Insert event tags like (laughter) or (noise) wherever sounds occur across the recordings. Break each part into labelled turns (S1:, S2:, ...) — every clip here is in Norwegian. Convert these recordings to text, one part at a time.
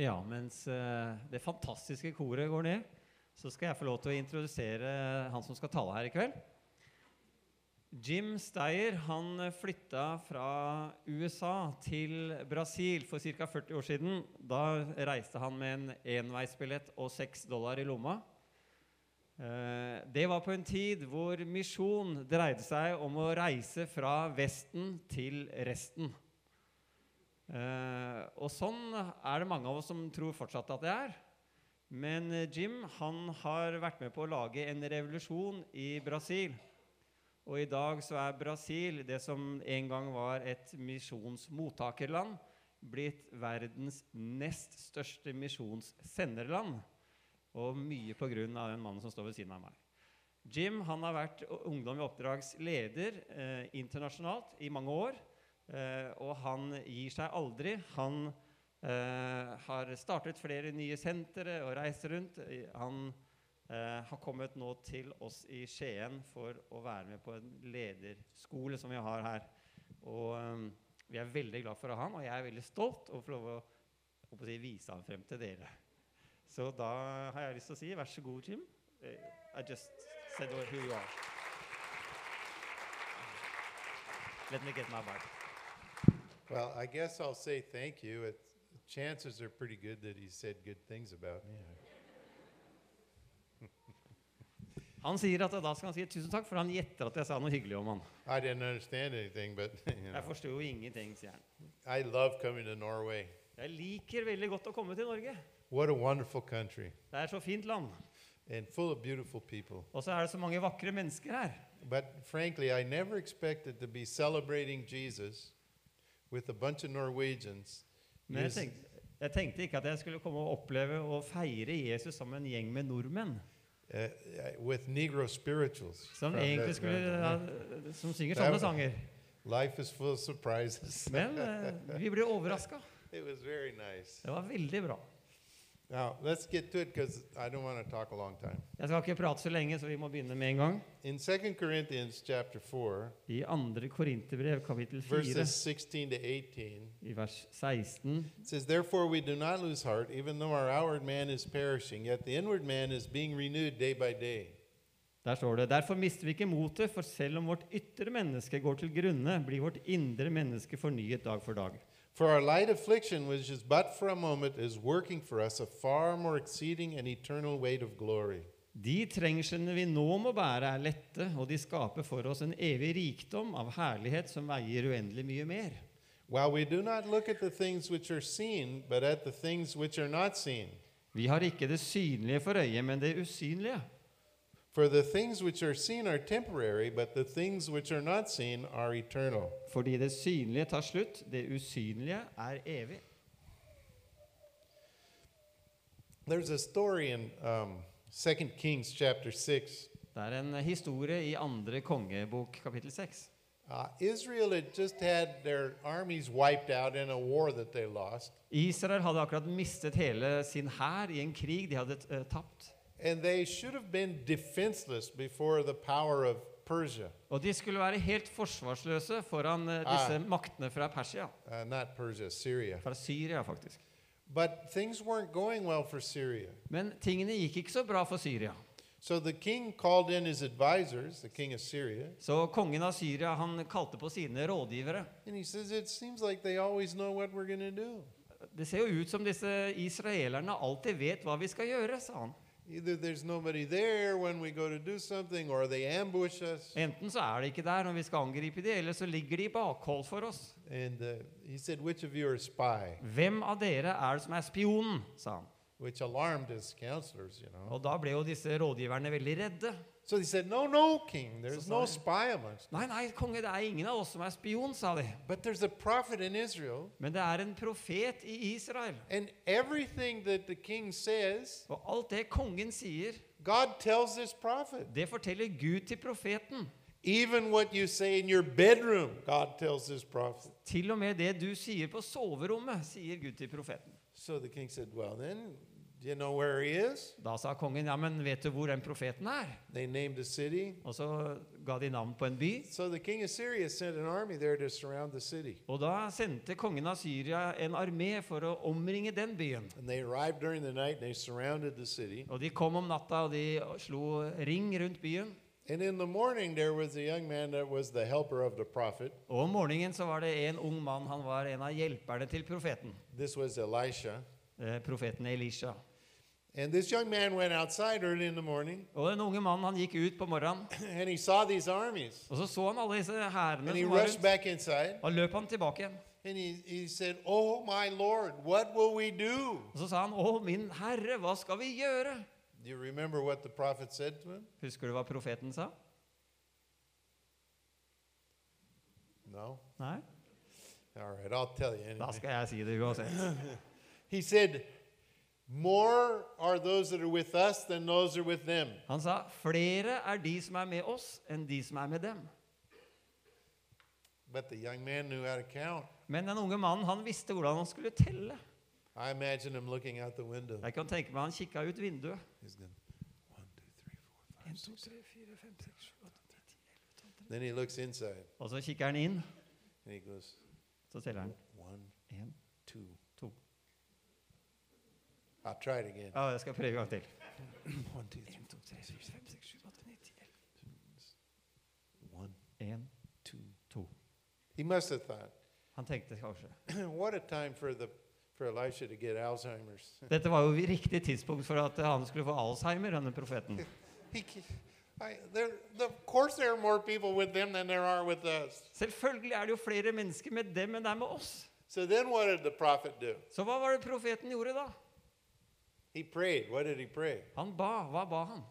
S1: Ja, mens eh, det fantastiske koret går ned, så skal jeg få lov til å introdusere han som skal tale her i kveld. Jim Steyer han flytta fra USA til Brasil for ca. 40 år siden. Da reiste han med en enveisbillett og seks dollar i lomma. Eh, Det var på en tid hvor misjon dreide seg om å reise fra Vesten til resten. Eh, og sånn er det mange av oss som tror fortsatt at det er. Men eh, Jim han har vært med på å lage en revolusjon i Brasil. Og i dag så er Brasil, det som en gang var et misjonsmottakerland, blitt verdens nest største misjonssenderland. Og mye på grunn av den mannen som står ved siden av meg. Jim han har vært Ungdom i Oppdrags leder eh, internasjonalt i mange år. Eh, og han gir seg aldri. Han eh, har startet flere nye sentre og reist rundt. Eh, Han eh, har kommet nå til oss i Skien for å være med på en lederskole som vi har her. Og eh, vi er veldig glad for å ha han, og jeg er veldig stolt over å få lov å, holdt på å si, vise han frem til dere. Så da har jeg lyst til å si vær så god, Jim. Eh, I just said who you are. Let me get my bike.
S2: Well, I guess I'll say thank you. It, chances are pretty good that he said good things about me.
S1: Han sier at da skal han si tusen takk, for han gjetter at jeg sa noe hyggelig om han.
S2: I didn't understand anything, but (laughs) you
S1: (laughs) Jeg
S2: know,
S1: forsto jo ingenting, sier han.
S2: I love coming to Norway.
S1: Jeg liker veldig godt å komme til Norge.
S2: What a wonderful country
S1: Det er så fint land.
S2: and full of beautiful people.
S1: Og så er det så mange vakre mennesker her.
S2: But frankly, I never expected to be celebrating Jesus with a bunch of Norwegians.
S1: Men jeg
S2: Yes.
S1: tenkte, jeg tenkte ikke at jeg skulle komme og oppleve å feire Jesus som en gjeng med nordmenn.
S2: uh, uh, with Negro spirituals.
S1: Som
S2: from
S1: egentlig
S2: that-
S1: skulle ja, Som synger sånne sanger.
S2: Life is full of surprises.
S1: Men eh, vi ble overraska.
S2: (laughs) It was very nice.
S1: Det var veldig bra.
S2: Now, let's get to it because I don't want to talk a long time.
S1: Jeg skal ikke prate så lenge, så vi må begynne med en gang.
S2: In 2 Corinthians chapter 4,
S1: I 2. Korinterbrev, kapittel 4,
S2: verses 16 to 18,
S1: i vers 16,
S2: it says, Therefore we do not lose heart, even though our outward man is perishing, yet the inward man is being renewed day by day.
S1: Der står det Derfor mister vi ikke motet, for selv om vårt ytre menneske går til grunne, blir vårt indre menneske fornyet dag for dag.
S2: For our light affliction, which is but for a moment, is working for us a far more exceeding and eternal weight of glory.
S1: De trengslene vi nå må bære, er lette, og de skaper for oss en evig rikdom av herlighet som veier uendelig mye mer.
S2: While we do not look at the things which are seen, but at the things which are not seen.
S1: Vi har ikke det synlige for øyet, men det usynlige.
S2: For the things which are seen are temporary, but the things which are not seen are eternal.
S1: Fordi det synlige tar slutt, det usynlige er evig.
S2: There's a story in um, 2 Kings chapter 6.
S1: Det er en historie i andre kongebok, kapittel 6.
S2: Uh, Israel had just had their armies wiped out in a war that they lost,
S1: Israel hadde akkurat mistet hele sin hær i en krig de hadde eh, tapt.
S2: and they should have been defenseless before the power of Persia.
S1: Og de skulle være helt forsvarsløse foran eh, disse maktene fra Persia.
S2: Uh, not Persia, Syria.
S1: Fra Syria, faktisk.
S2: But things weren't going well for Syria.
S1: Men tingene gikk ikke så bra for Syria.
S2: So the king called in his advisors, the king of Syria,
S1: Så kongen av Syria han kalte på sine rådgivere.
S2: and he says, It seems like they always know what we're going to do.
S1: Det ser jo ut som disse israelerne alltid vet hva vi skal gjøre, sa han.
S2: Either there's nobody there when we go to do something, or they ambush us.
S1: Enten så er de ikke der når vi skal angripe de, eller så ligger de i bakhold for oss.
S2: And uh, he said, Which of you are a spy?
S1: Hvem av dere er det som er spionen? sa han.
S2: Which alarmed his counselors, you know.
S1: Og da ble jo disse rådgiverne veldig redde.
S2: So he said, No, no, king, there's
S1: sorry.
S2: no spy amongst us.
S1: Nei, nei, konge, det er ingen av oss som er spion, sa de.
S2: But there's a prophet in Israel,
S1: Men det er en profet i Israel.
S2: and everything that the king says,
S1: Og alt det kongen sier,
S2: God tells this prophet.
S1: det forteller Gud til profeten.
S2: Even what you say in your bedroom, God tells this prophet.
S1: Til og med det du sier på soverommet, sier Gud til profeten.
S2: So the king said, Well, then, do you know where he is?
S1: Da sa kongen, ja, men vet du hvor den profeten er?
S2: They named a city.
S1: Og så ga ga de navn på en by.
S2: So the king of Syria sent an army there to surround the city.
S1: Og da sendte kongen av Syria en armé for å omringe den byen.
S2: And they arrived during the night and they surrounded the city.
S1: Og de kom om natta, og de slo ring rundt byen.
S2: And in the morning, there was a young man that was the helper of the prophet.
S1: Og om morgenen så var det en ung mann, han var en av hjelperne til profeten.
S2: This was Elisha.
S1: Eh, profeten Elisha.
S2: And this young man went outside early in the morning (clears throat)
S1: Og den unge mannen han gikk ut på morgenen,
S2: and he saw these armies.
S1: og så så han alle disse hærene
S2: And he
S1: som var
S2: rushed
S1: rundt.
S2: back inside
S1: Da løp han tilbake igjen.
S2: and he, he said, Oh, my Lord, what will we do?
S1: Og så sa han, 'Å, min herre, hva skal vi gjøre?'
S2: Do you remember what the prophet said to him?
S1: Husker du hva profeten sa?
S2: No?
S1: Nei?
S2: All right, I'll tell you
S1: Da
S2: anyway.
S1: skal jeg si det uansett.
S2: He said, More are those that are with us than those that are with them.
S1: Han sa, 'Flere er de som er med oss, enn de som er med dem'.
S2: But the young man knew how to count.
S1: Men den unge mannen han visste hvordan han skulle telle.
S2: I imagine him looking out the window.
S1: Jeg kan tenke meg han kikka ut vinduet.
S2: He's going, one, two, three,
S1: En,
S2: four, five.
S1: to, tre, fire, fem, seks, sju, åtte, ni, ti, elleve, tolv, tretten.
S2: Then he looks inside
S1: Og så kikker han inn,
S2: and he goes,
S1: så teller han.
S2: one,
S1: En,
S2: two.
S1: to.
S2: I'll try it again.
S1: Ja, jeg skal prøve en gang til.
S2: One, two, three,
S1: En, to, tre, fire, fem, seks, sju, åtte, ni, ti, elleve.
S2: one,
S1: En,
S2: two.
S1: to.
S2: He must have thought, (clears throat)
S1: Han tenkte kanskje
S2: what a time for the for Elisha to get Alzheimer's. (laughs)
S1: Dette var jo riktig tidspunkt for at han skulle få Alzheimer, denne profeten.
S2: He, ca- I, there, the- of course, there are more people with them than there are with us.
S1: Selvfølgelig er det jo flere mennesker med dem enn det er med oss.
S2: So then, what did the prophet do?
S1: Så hva var det profeten gjorde da?
S2: He prayed. What did he pray?
S1: Han ba. Hva ba han?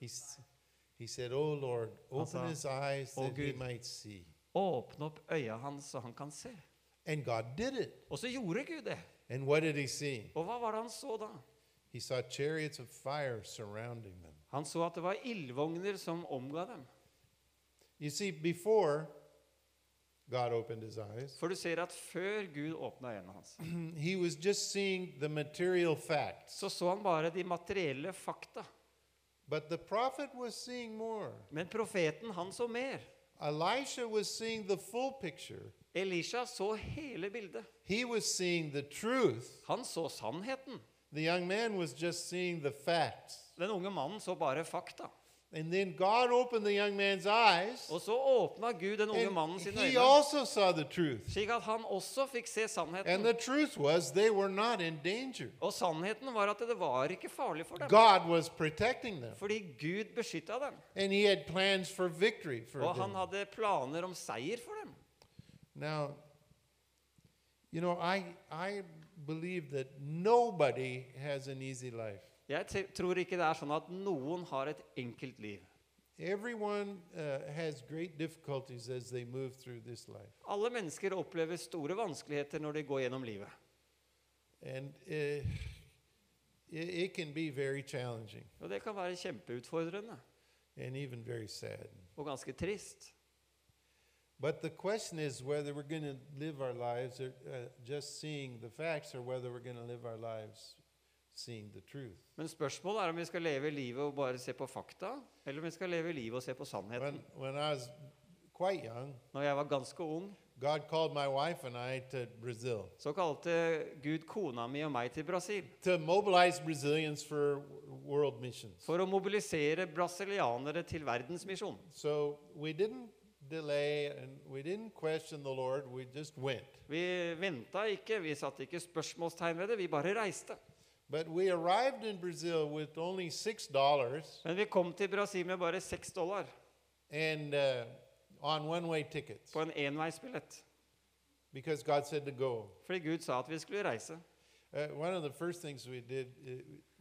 S2: He, s- he said, "Oh Lord, open
S1: Asa,
S2: his eyes
S1: "O
S2: that he
S1: Gud."
S2: might see."
S1: Åpne opp øya hans, så han kan se.
S2: And God did it.
S1: Og så gjorde Gud det.
S2: And what did he see?
S1: Og hva var det han så da?
S2: He saw chariots of fire surrounding them.
S1: Han så at det var ildvogner som omga dem.
S2: You see, before God opened
S1: (clears throat)
S2: his eyes,
S1: For du ser at før Gud åpna øynene hans,
S2: he was just seeing the material facts.
S1: så så han bare de materielle fakta.
S2: But the prophet was seeing more.
S1: Men profeten, han så mer.
S2: Elisha was seeing the full picture.
S1: Elisha så hele bildet.
S2: He was seeing the truth.
S1: Han så sannheten.
S2: The young man was just seeing the facts.
S1: Den unge mannen så bare fakta.
S2: And then God opened the young man's eyes.
S1: Og så åpna Gud den unge
S2: And
S1: mannen sine
S2: he
S1: øyne,
S2: also saw the truth.
S1: slik at han også fikk se
S2: And
S1: sannheten.
S2: the truth was they were not in danger.
S1: Og sannheten var at det var ikke farlig for dem,
S2: God was protecting them.
S1: fordi Gud beskytta dem.
S2: And he had plans for victory for
S1: Og han
S2: them.
S1: hadde planer om seier for dem.
S2: Now, you know, I, I believe that nobody has an easy life.
S1: Jeg te- tror ikke det er sånn at noen har et enkelt liv.
S2: Everyone uh, has great difficulties as they move through this life.
S1: Alle mennesker opplever store vanskeligheter når de går gjennom livet.
S2: And uh, it, it can be very challenging
S1: Og det kan være kjempeutfordrende
S2: and even very sad.
S1: og ganske trist.
S2: But the question is whether we're going to live our lives or, uh, just seeing the facts or whether we're going to live our lives seeing the truth.
S1: Men spørsmålet er om vi skal leve livet og bare se på fakta, eller om vi skal leve livet og se på
S2: When,
S1: sannheten.
S2: when I was quite young,
S1: Når jeg var ganske ung,
S2: God called my wife and I to Brazil
S1: så kalte Gud kona mi og meg til Brasil
S2: to mobilize Brazilians for w- world missions.
S1: for å mobilisere brasilianere til verdensmisjon.
S2: So we didn't delay and we didn't question the Lord, we just went.
S1: Vi venta ikke, vi satte ikke spørsmålstegn ved det, vi bare reiste.
S2: But we arrived in Brazil with only $6
S1: Men vi kom til Brasil med bare seks dollar
S2: and uh, on one way tickets
S1: på en enveisbillett.
S2: because God said to go.
S1: Fordi Gud sa at vi skulle reise.
S2: Uh, one of the first things we did, uh,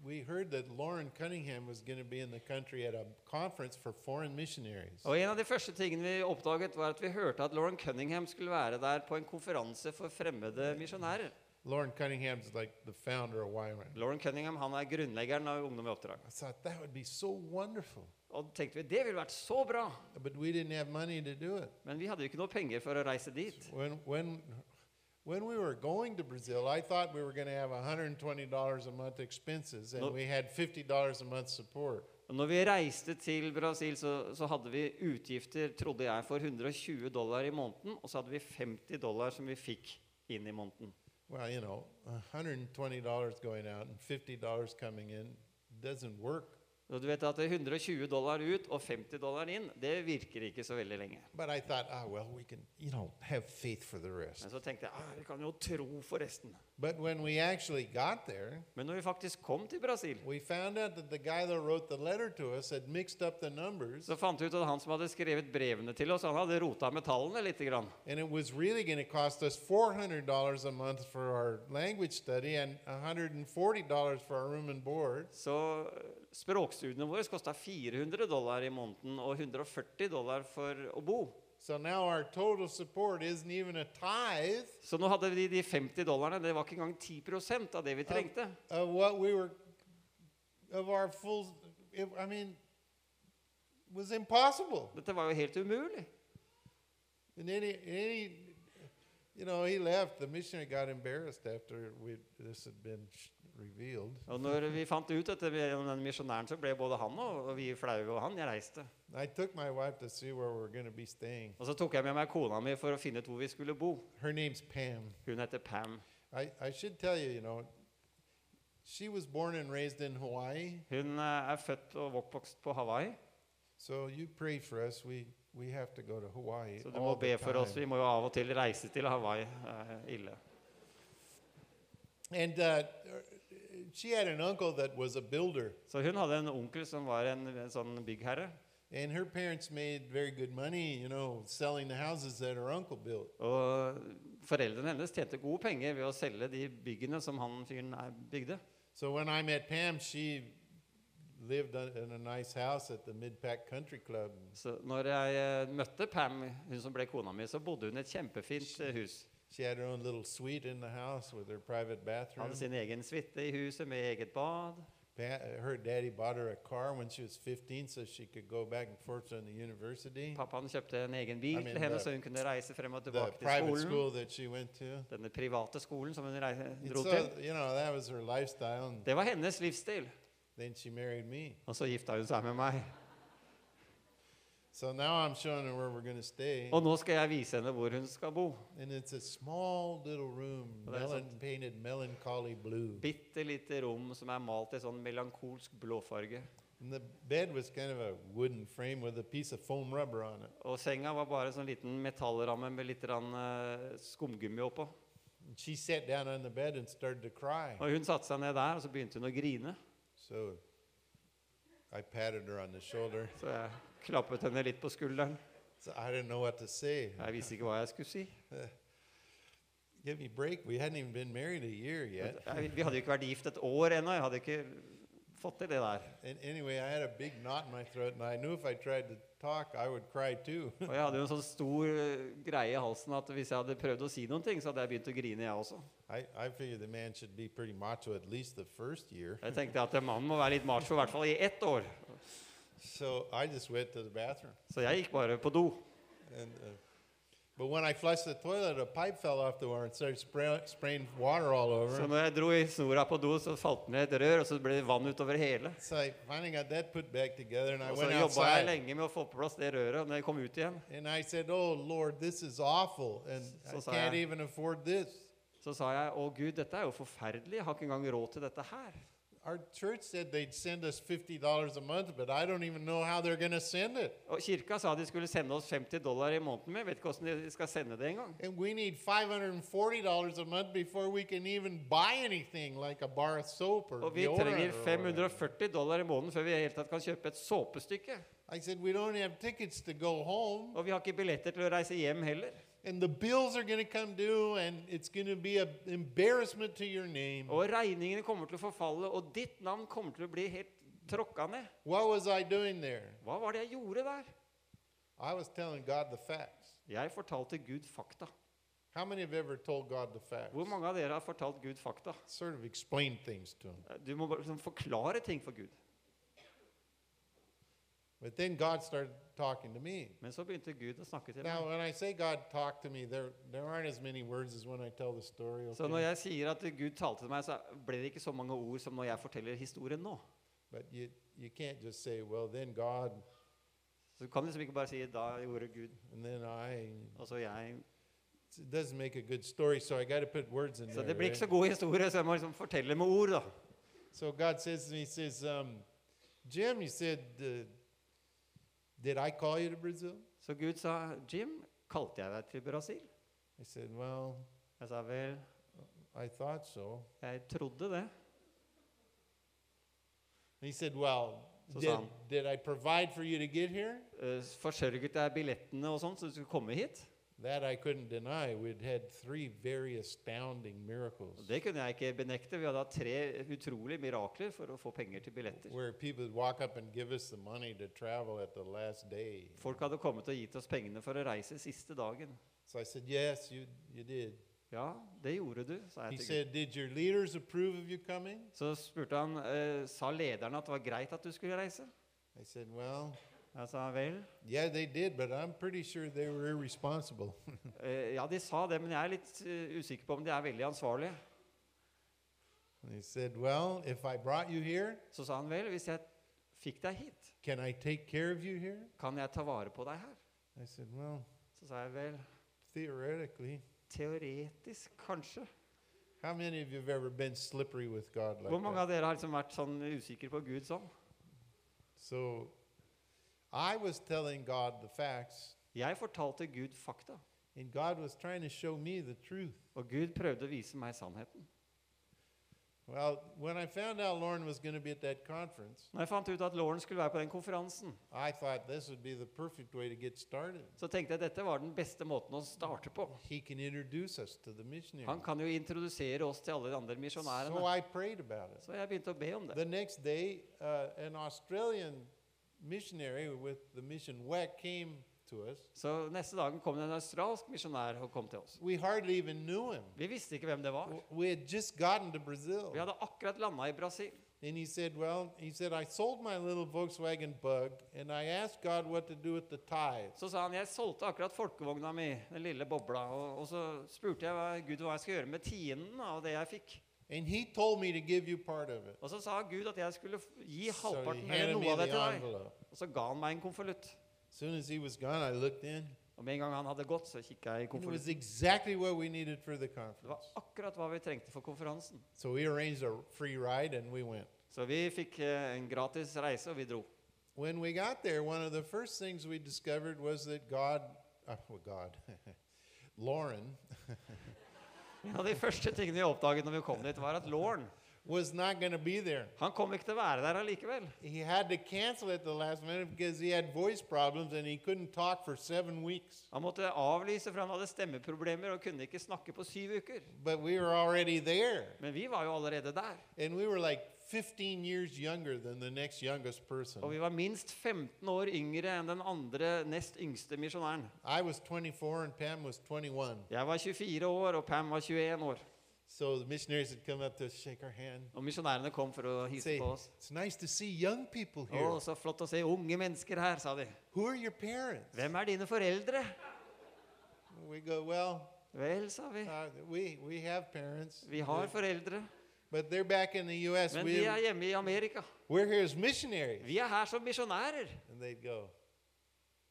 S2: we heard that Lauren Cunningham was going to be in the country at a conference for foreign missionaries.
S1: Og en av de første tingene vi oppdaget, var at vi hørte at Lauren Cunningham skulle være der på en konferanse for fremmede misjonærer.
S2: Lauren Cunningham's like the founder of YRAN.
S1: Lauren Cunningham han er grunnleggeren av Ungdom i oppdrag.
S2: I thought that would be so wonderful,
S1: Og tenkte vi, det ville vært så bra,
S2: but we didn't have money to do it.
S1: men vi hadde jo ikke noe penger for å reise dit.
S2: When when when we were going to Brazil, I thought we were going to have $120 a month expenses, and
S1: No.
S2: we had $50 a month support.
S1: Og når vi reiste til Brasil, så, så hadde vi utgifter trodde jeg, for 120 dollar i måneden. Og så hadde vi 50 dollar som vi fikk inn i måneden.
S2: Well, you know, $120 going out and $50 coming in doesn't work.
S1: Og du vet at 120 dollar ut og 50 dollar inn, det virker ikke så veldig lenge.
S2: But I thought, ah, well, we can, you know, have faith for the rest.
S1: Men så tenkte jeg ah, vi kan jo tro for resten.
S2: But when we actually got there,
S1: Men når vi faktisk kom til Brasil,
S2: we found out that the guy that wrote the letter to us had mixed up the numbers,
S1: så fant vi ut at han som hadde skrevet brevene til oss, han hadde rota med tallene lite grann.
S2: and it was really going to cost us $400 a month for our language study and $140 for our room and board.
S1: Så eh, språkstudiene våre kosta 400 dollar i måneden og 140 dollar for å bo.
S2: So now our total support isn't even a tithe
S1: Så nå hadde vi de 50 dollarene. Det var ikke engang 10 av det vi trengte.
S2: of what we were, of our full, it, I mean, was impossible.
S1: Dette var jo helt umulig.
S2: And any, any, you know, he left. The missionary got embarrassed after we this had been sh- revealed.
S1: Og når vi fant ut dette gjennom den misjonæren, så ble både han og og vi flaue, og han jeg reiste.
S2: I took my wife to see where we were going to be staying.
S1: Og så tok jeg med meg kona mi for å finne ut hvor vi skulle bo.
S2: Her name's Pam.
S1: Hun heter Pam.
S2: I, I should tell you, you know, she was born and raised in Hawaii.
S1: Hun eh, er født og oppvokst på Hawaii,
S2: So you pray for us. We we have to go to Hawaii.
S1: så du må
S2: all the
S1: be for oss.
S2: time.
S1: Vi må jo av og til reise til Hawaii. eh, Ille.
S2: And uh, she had an uncle that was a builder,
S1: Så hun hadde en onkel som var en, en sånn byggherre.
S2: and her parents made very good money, you know, selling the houses that her uncle built.
S1: Og foreldrene hennes tjente gode penger ved å selge de byggene som han fyren eh, bygde.
S2: So when I met Pam, she lived on- in a nice house at the Midpack Country Club.
S1: Så når jeg eh, møtte Pam, hun som ble kona mi, så bodde hun i et kjempefint eh, hus.
S2: She had her own little suite in the house with her private bathroom.
S1: Hadde sin egen suite i huset med eget bad.
S2: Pa- her daddy bought her a car when she was 15 so she could go back and forth to the university,
S1: Pappaen kjøpte en egen bil
S2: I mean,
S1: til henne,
S2: the-
S1: så hun kunne reise frem og
S2: the
S1: tilbake til
S2: private
S1: skolen.
S2: school that she went to.
S1: Denne private skolen som hun reise,
S2: And
S1: dro
S2: so,
S1: til.
S2: you know, that was her lifestyle. And
S1: Det var hennes livsstil.
S2: then she married me.
S1: Og så gifta hun seg med meg.
S2: So now I'm showing her where we're going to stay.
S1: Og nå skal jeg vise henne hvor hun skal bo.
S2: And it's a small little room,
S1: Well, that's
S2: melon, painted melancholy blue.
S1: Bitte lite rom som er malt i sånn melankolsk blåfarge.
S2: And the bed was kind of a wooden frame with a piece of foam rubber on it.
S1: Og senga var bare sånn liten metallramme med litt rann, eh, skumgummi oppå.
S2: And she sat down on the bed and started to cry.
S1: Og hun satte seg ned der, og så begynte hun å grine.
S2: So I patted her on the shoulder.
S1: Så jeg klappet henne litt på skulderen.
S2: So I didn't know what to say.
S1: Jeg visste ikke hva jeg skulle si.
S2: Give me a break. We hadn't even been married a year yet.
S1: Jeg, vi hadde jo ikke vært gift et år ennå. Jeg hadde ikke fått til det der.
S2: And anyway, I had a big knot in my throat, and I knew if I tried to talk, I would cry too. (laughs)
S1: Og jeg hadde jo en sånn stor eh, greie i halsen at hvis jeg hadde prøvd å si noen ting, så hadde jeg begynt å grine, jeg også.
S2: I, I figured the man should be pretty macho at least the first year.
S1: Jeg tenkte at mannen må være litt macho, i hvert fall i ett år.
S2: So I just went to the bathroom.
S1: Så jeg gikk bare på do.
S2: And, uh, but when I flushed the toilet, a pipe fell off the wall and started spray, spraying water all
S1: Så
S2: over.
S1: når jeg dro i snora på do, så falt det ned et rør, og så ble det vann utover hele.
S2: So I finally got that put back together, and I
S1: Og så
S2: went
S1: jobba jeg
S2: outside.
S1: lenge med å få på plass det røret, og når jeg kom ut igjen,
S2: And I said, "Oh Lord, this is awful, and I
S1: Så sa
S2: can't
S1: jeg-
S2: even afford this."
S1: så sa jeg å gud, dette er jo forferdelig, jeg har ikke engang råd til dette her.
S2: Our church said they'd send us fifty dollars a month, but I don't even know how they're going to send it.
S1: Og kirka sa de skulle sende oss 50 dollar i måneden, men jeg vet ikke hvordan de skal sende det engang.
S2: And we need five hundred and forty dollars a month before we can even buy anything like a bar of soap or
S1: Og vi
S2: deodorant
S1: trenger
S2: or whatever.
S1: 540 dollar i måneden før vi i det hele tatt kan kjøpe et såpestykke.
S2: I said, "We don't have tickets to go home."
S1: Og vi har ikke billetter til å reise hjem heller.
S2: And the bills are going to come due, and it's going to be an embarrassment to your name.
S1: Og regningene kommer til å forfalle, og ditt navn kommer til å bli helt tråkka ned.
S2: What was I doing there?
S1: Hva var det jeg gjorde der?
S2: I was telling God the facts.
S1: Jeg fortalte Gud fakta.
S2: How many have ever told God the facts?
S1: Hvor mange av dere har fortalt Gud fakta?
S2: Sort of explained things to him.
S1: Du må bare liksom forklare ting for Gud.
S2: But then God started talking to me.
S1: Men så begynte Gud å snakke til meg.
S2: Now, when I say God talked to me, there, there aren't as many words as when I tell the story.
S1: Så når
S2: Okay?
S1: jeg sier at Gud talte til meg, så ble det ikke så mange ord som når jeg forteller historien nå.
S2: But you, you can't just say, well, then God,
S1: Så du kan liksom ikke bare si 'da gjorde Gud',
S2: and then I.
S1: og så jeg.
S2: It doesn't make a good story, so I got to put words in
S1: Så
S2: there.
S1: det blir
S2: right?
S1: ikke så god historie, så jeg må liksom fortelle med ord, da.
S2: So God says to me, He says, um, Jim, He said, uh, did I call you to Brazil?
S1: Så Gud sa 'Jim, kalte jeg deg til Brasil?'
S2: I said, well,
S1: Jeg sa vel
S2: I thought so.
S1: 'jeg trodde det'.
S2: And he said, well,
S1: So
S2: did,
S1: some.
S2: did I provide for you to get here?
S1: Eh, Forsørget jeg billettene og sånn, så du skulle komme hit?
S2: That I couldn't deny. We'd had three very astounding miracles
S1: Og det kunne jeg ikke benekte. Vi hadde hatt tre utrolige mirakler for å få penger til billetter.
S2: where people would walk up and give us the money to travel at the last day.
S1: Folk hadde kommet og gitt oss pengene for å reise siste dagen.
S2: So I said, yes, you, you did.
S1: Ja, det gjorde du, sa
S2: He
S1: jeg til Gud.
S2: said, did your leaders approve of you coming?
S1: Så spurte han eh, sa lederen at det var greit at du skulle reise.
S2: I said, well,
S1: Jeg sa vel.
S2: yeah, they did, but I'm pretty sure they were irresponsible.
S1: eh, ja, de sa det, men jeg er litt eh, usikker på om de er veldig ansvarlige.
S2: And he said, Well, if I brought you here,
S1: Så sa han vel, hvis jeg fikk deg hit,
S2: can I take care of you here?
S1: kan jeg ta vare på deg her?
S2: I said, Well,
S1: Så sa jeg vel,
S2: theoretically.
S1: teoretisk kanskje.
S2: How many of you have ever been slippery with God like
S1: Hvor mange
S2: that?
S1: av dere har liksom vært sånn usikre på Gud sånn?
S2: So I was telling God the facts,
S1: Jeg fortalte Gud fakta,
S2: and God was trying to show me the truth.
S1: og Gud prøvde å vise meg sannheten.
S2: Well, when I found out Lauren was going to be at that conference,
S1: Når jeg fant ut at Lauren skulle være på den konferansen,
S2: I thought this would be the perfect way to get started.
S1: så tenkte jeg dette var den beste måten å starte på.
S2: He can introduce us to the missionary.
S1: Han er kan jo introdusere oss til alle de andre
S2: So
S1: misjonærene.
S2: I prayed about it.
S1: Så jeg begynte å be om det.
S2: The next day, uh, an Australian missionary with the mission WEC came to us.
S1: Så neste dagen kom det en australsk misjonær og kom til oss.
S2: We hardly even knew him.
S1: Vi visste ikke hvem det var.
S2: W- We had just gotten to Brazil.
S1: Vi hadde akkurat landa i Brasil.
S2: And he said, Well, he said, I sold my little Volkswagen bug and I asked God what to do with the tithes.
S1: Så sa han jeg solgte akkurat folkevogna mi, den lille bobla, og, og så spurte jeg hva, Gud hva jeg skulle gjøre med tienden av det jeg fikk.
S2: And he told me to give you part of it.
S1: Og så sa Gud at jeg skulle f- gi
S2: So he
S1: halvparten eller
S2: handed me
S1: noe av det
S2: the
S1: til deg.
S2: envelope.
S1: Og så ga han meg en konvolutt.
S2: As soon as he was gone, I looked in.
S1: Og med en gang han hadde gått, så kikka jeg i
S2: And it was
S1: konvolutten.
S2: exactly what we needed for the
S1: Det
S2: conference.
S1: var akkurat hva vi trengte for konferansen.
S2: So we arranged a free ride and we went.
S1: Så vi fikk eh, en gratis reise, og vi dro.
S2: When we got there, one of the first things we discovered was that God, oh God, (laughs) Lauren,
S1: En av de (laughs) første tingene vi oppdaget når vi kom dit, var at Lauren
S2: was not going to be there.
S1: han kom ikke til å være der allikevel.
S2: He had to cancel at the last minute because he had voice problems and he couldn't talk for seven weeks.
S1: Han måtte avlyse, for han hadde stemmeproblemer og kunne ikke snakke på syv uker.
S2: But we were already there.
S1: Men vi var jo allerede der.
S2: And we were like 15 years younger than the next youngest person.
S1: Og vi var minst 15 år yngre enn den andre nest yngste misjonæren.
S2: I was 24 and Pam was 21.
S1: Jeg var 24 år, og Pam var 21 år.
S2: So the missionaries had come up to us, shake our hand,
S1: Og misjonærene kom for å hilse
S2: say,
S1: på oss.
S2: It's nice to see young people
S1: Å,
S2: here.
S1: så flott å se unge mennesker her, sa de.
S2: Who are your parents?
S1: Hvem er dine foreldre?
S2: We go, Well,
S1: Vel, sa vi.
S2: Uh, we we have parents,
S1: Vi har foreldre,
S2: but they're back in the U.S.
S1: men de
S2: We, uh,
S1: er hjemme i Amerika.
S2: we're here as missionaries,
S1: Vi er her som misjonærer.
S2: and they'd go,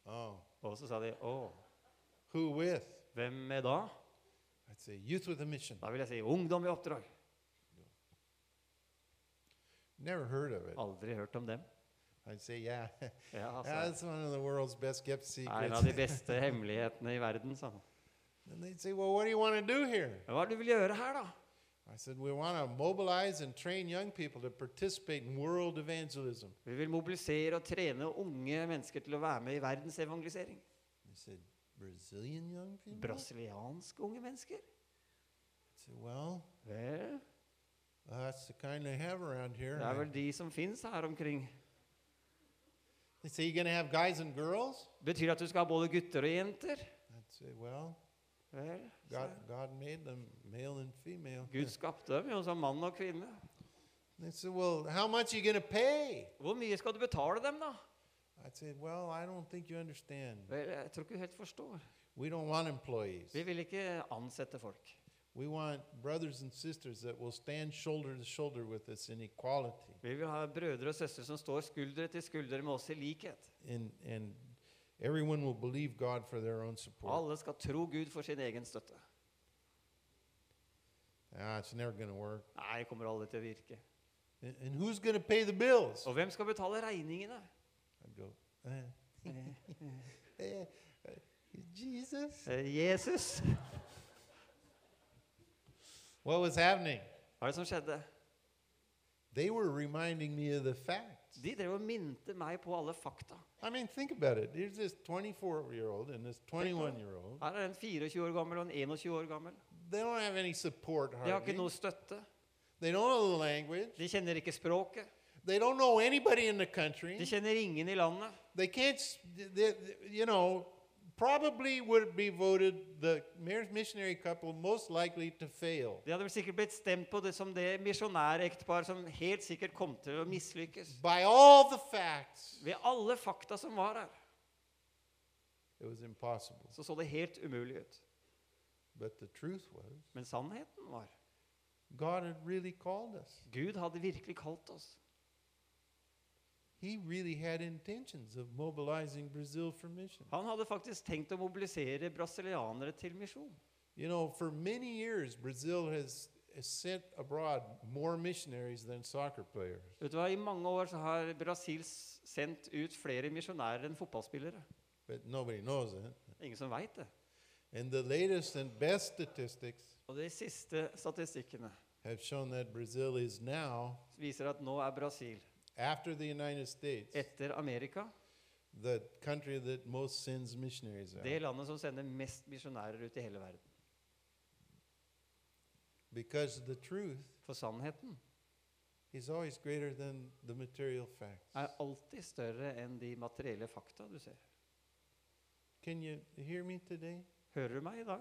S2: "Oh,
S1: Og så sa de å,
S2: who with?"
S1: hvem er da?
S2: I'd say, "Youth with a Mission."
S1: Da vil jeg si ungdom i oppdrag.
S2: Never heard of it.
S1: Aldri hørt om dem.
S2: I'd say, "Yeah,
S1: Ja, altså,
S2: (laughs) that's one of the world's best kept
S1: er en av de
S2: secrets."
S1: beste hemmelighetene i verden, sa han.
S2: (laughs) and they'd say, "Well, what do you want to do here?"
S1: Men hva er det du vil gjøre her, da?
S2: I said, "We want to mobilize and train young people to participate in world evangelism."
S1: Vi vil mobilisere og trene unge mennesker til å være med i verdensevangelisering.
S2: They said, "Brazilian young people?"
S1: Brasilianske unge mennesker?
S2: I said, "Well,
S1: Vel,
S2: that's the kind they have around here."
S1: det er vel de som fins her omkring.
S2: They say, "You going to have guys and girls?"
S1: Betyr det at du skal ha både gutter og jenter?
S2: I'd say, well,
S1: Vel, så
S2: God, God made them male and female.
S1: Gud skapte dem jo som mann og kvinne.
S2: They said, well, how much are you going to pay?
S1: Hvor mye skal du betale dem, da?
S2: I said, well, I don't think you understand.
S1: Vel, jeg tror ikke du helt forstår.
S2: We don't want employees.
S1: Vi vil ikke ansette folk.
S2: We want brothers and sisters that will stand shoulder to shoulder with us in equality,
S1: Vi vil ha brødre og søstre som står skulder til skulder med oss i likhet.
S2: and, and everyone will believe God for their own
S1: Og
S2: support.
S1: alle skal tro Gud for sin egen støtte.
S2: Ah, it's never going to work.
S1: Nei, kommer aldri til å virke.
S2: And, and who's going to pay the bills?
S1: Og hvem skal betale regningene?
S2: I'd go, eh, eh, eh, Jesus.
S1: Eh, Jesus.
S2: What was happening?
S1: Hva er det som skjedde?
S2: They were reminding me of the facts.
S1: De drev og minte meg på alle fakta.
S2: I mean, think about it. There's this 24 year old and this 21 year old.
S1: Her er en 24 år gammel og en 21 år gammel.
S2: They don't have any support
S1: De har ikke
S2: hardly.
S1: noe støtte.
S2: They don't know the language.
S1: De kjenner ikke språket.
S2: They don't know anybody in the
S1: De
S2: country.
S1: kjenner ingen i landet.
S2: They can't, s- they, you know, probably would be voted the mar- missionary couple most likely to fail.
S1: De hadde vel sikkert blitt stemt på det som det misjonærektepar som helt sikkert kom til å mislykkes.
S2: By all the facts,
S1: Ved alle fakta som var her,
S2: it was impossible.
S1: så så det helt umulig ut.
S2: But the truth was,
S1: Men sannheten var
S2: God had really called us.
S1: Gud hadde virkelig kalt oss.
S2: He really had intentions of mobilizing Brazil for mission.
S1: Han hadde faktisk tenkt å mobilisere brasilianere til misjon.
S2: You know, for many years, Brazil has, has sent abroad more missionaries than soccer players.
S1: Vet du hva, I mange år så har Brasil s- sendt ut flere misjonærer enn fotballspillere.
S2: But nobody knows it.
S1: Ingen som veit det.
S2: And the latest and best statistics
S1: Og De siste statistikkene
S2: have shown that Brazil is now,
S1: viser at nå er Brasil,
S2: after the United States,
S1: etter Amerika,
S2: the country that most sends missionaries out.
S1: det landet som sender mest misjonærer ut i hele verden.
S2: Because the truth
S1: For sannheten
S2: is always greater than the material facts.
S1: er alltid større enn de materielle fakta du ser.
S2: Can you hear me today?
S1: Hører du meg i dag?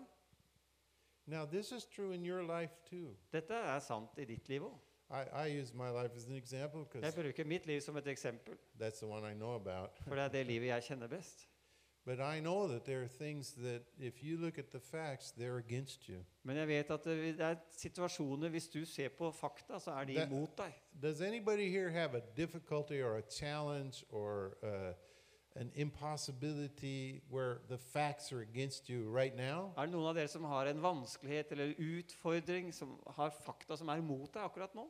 S2: Now, this is true in your life too.
S1: Dette er sant i ditt liv òg.
S2: I, I use my life as an example
S1: Jeg
S2: because
S1: bruker mitt liv som et eksempel,
S2: that's the one I know about.
S1: for det er det livet jeg kjenner best.
S2: But I know that there are things that, if you look at the facts, they're against you.
S1: Men jeg vet at det det er situasjoner Hvis du ser på fakta, så er de
S2: Det-
S1: imot deg.
S2: Does anybody here have a difficulty or a challenge or uh, an impossibility where the facts are against you right now?
S1: Er det noen av dere som har en vanskelighet eller utfordring, som har fakta som er imot deg akkurat nå?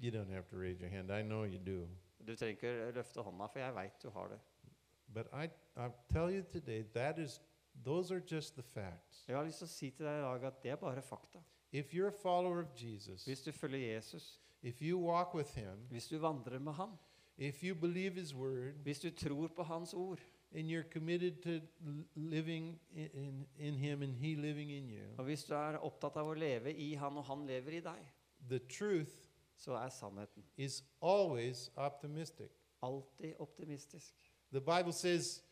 S2: You don't have to raise your hand. I know you do.
S1: Du trenger ikke løfte hånda, for jeg veit du har det.
S2: But I, I tell you today, that is, those are just the facts.
S1: Jeg har lyst til å si til deg i dag at det er bare fakta.
S2: If you're a follower of Jesus,
S1: Hvis du følger Jesus,
S2: if you walk with Him,
S1: hvis du vandrer med Han,
S2: if you believe His word,
S1: hvis du tror på Hans ord,
S2: and you're committed to l- living in, in, in Him and He living in you,
S1: og hvis du er opptatt av å leve i Han og Han lever i deg,
S2: the truth
S1: så er sannheten
S2: is always optimistic.
S1: alltid optimistisk.
S2: The Bible says,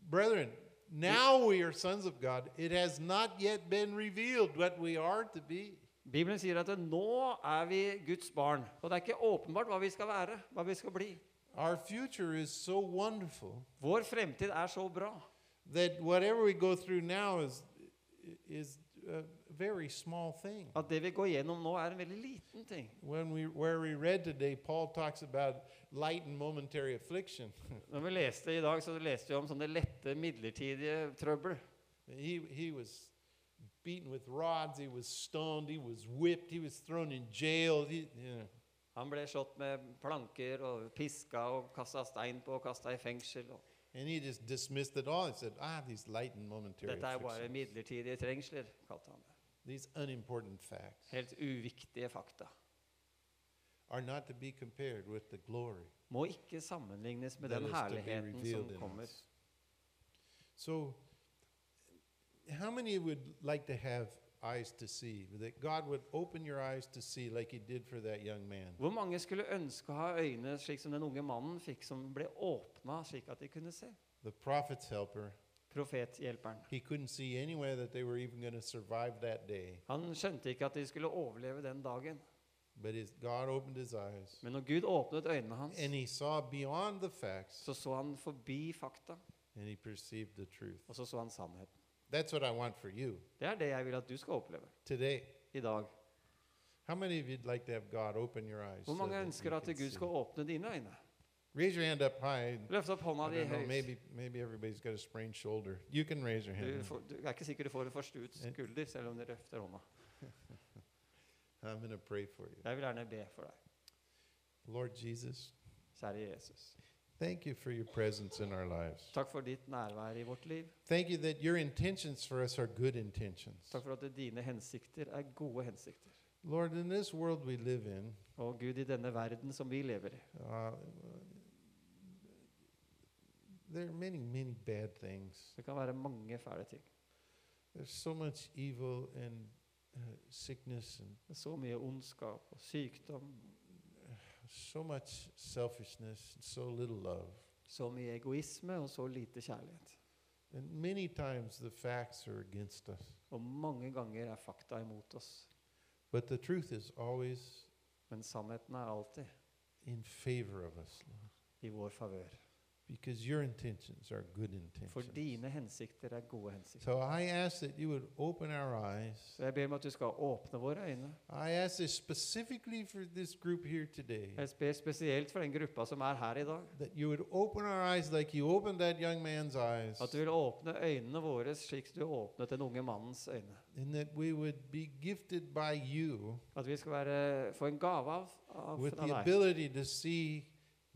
S2: Brethren, now we are sons of God. It has not yet been revealed what we are to be.
S1: Bibelen sier at nå er vi Guds barn, og det er ikke åpenbart hva vi skal være, hva vi skal bli.
S2: Our future is so wonderful
S1: Vår fremtid er så bra.
S2: that whatever we go through now is, is a very small thing.
S1: at det vi går gjennom nå, er en veldig liten ting.
S2: When we, where we read today, Paul talks about light and momentary affliction. (laughs)
S1: Når vi leste i dag, så leste vi om sånne lette, midlertidige trøbbel.
S2: He, he was beaten with rods, he was stoned, he was whipped, he was thrown in jail. He, you know.
S1: Han ble slått med planker og piska og kasta stein på og kasta i fengsel. Og
S2: And he just dismissed it all. He said, Ah, these light and momentary
S1: dette er jo bare
S2: afflictions,
S1: midlertidige trengsler, kalte han det.
S2: these unimportant facts,
S1: Helt uviktige fakta.
S2: are not to be compared with the glory
S1: Må ikke sammenlignes med
S2: that
S1: den
S2: is to be
S1: herligheten
S2: revealed
S1: som
S2: in
S1: kommer.
S2: us. So, how many would like to have eyes to see? That God would open your eyes to see, like He did for that young man.
S1: Hvor mange skulle ønske å ha øyne slik som den unge mannen fikk, som ble åpna slik at de kunne se?
S2: The prophet's helper,
S1: Profethjelperen.
S2: he couldn't see anywhere that they were even going to survive that day.
S1: Han skjønte ikke at de skulle overleve den dagen.
S2: But his, God opened his eyes,
S1: Men når Gud åpnet øynene hans,
S2: and he saw beyond the facts
S1: så så han forbi fakta.
S2: and he perceived the truth.
S1: Og så så han sannheten.
S2: That's what I want for you
S1: Det er det jeg vil at du skal oppleve
S2: today.
S1: i dag.
S2: How many of you'd like to have God open your eyes?
S1: Hvor
S2: so
S1: mange
S2: that you
S1: ønsker at
S2: can
S1: Gud
S2: see?
S1: skal åpne dine øyne?
S2: Raise your hand up high.
S1: Løft opp hånda
S2: I
S1: di
S2: don't know,
S1: høyt.
S2: maybe, maybe everybody's got a sprained shoulder. You can raise your
S1: Du,
S2: hand.
S1: får, du er ikke sikker du får en forstuet skulder selv om du løfter hånda.
S2: I'm going to pray for you.
S1: Jeg vil gjerne be for deg,
S2: Lord Jesus,
S1: kjære Jesus.
S2: thank you for your presence in our lives.
S1: Takk for ditt nærvær i vårt liv.
S2: Thank you that your intentions for us are good intentions.
S1: Takk for at dine hensikter er gode hensikter.
S2: Lord, in this world we live in,
S1: Og Gud, i denne verden som vi lever i,
S2: uh, there are many, many bad things.
S1: det kan være mange fæle ting.
S2: There's so much evil and uh, sickness and
S1: Det er så mye ondskap og sykdom,
S2: so much selfishness and so little love.
S1: så mye egoisme og så lite kjærlighet.
S2: And many times the facts are against us,
S1: Og mange ganger er fakta imot oss.
S2: but the truth is always
S1: Men sannheten er alltid
S2: in favor of us, Lord,
S1: i vår favør.
S2: because your intentions are good intentions.
S1: For dine hensikter er gode hensikter.
S2: So I ask that you would open our eyes.
S1: Så jeg ber om at du skal åpne våre øyne.
S2: I ask this specifically for this group here today.
S1: Jeg ber spesielt for den gruppa som er her i dag.
S2: That you would open our eyes like you opened that young man's eyes.
S1: At du vil åpne øynene våre slik du åpnet den unge mannens øyne.
S2: And that we would be gifted by you
S1: At vi skal være, få en gave av, av
S2: with
S1: fra
S2: the
S1: deg.
S2: ability to see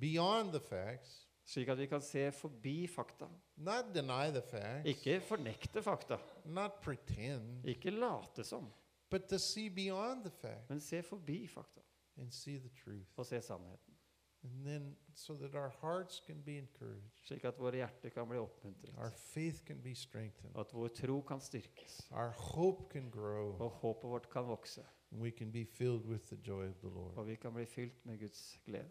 S2: beyond the facts,
S1: Slik at vi kan se forbi fakta.
S2: not deny the facts,
S1: Ikke fornekte fakta.
S2: not pretend,
S1: Ikke late som.
S2: but to see beyond the fact
S1: Men se forbi fakta.
S2: and see the truth.
S1: Og se sannheten.
S2: And then so that our hearts can be encouraged,
S1: Slik at våre hjerter kan bli oppmuntret.
S2: our faith can be strengthened,
S1: Og at vår tro kan styrkes.
S2: our hope can grow,
S1: Og håpet vårt kan vokse.
S2: and we can be filled with the joy of the Lord.
S1: Og vi kan bli fylt med Guds glede.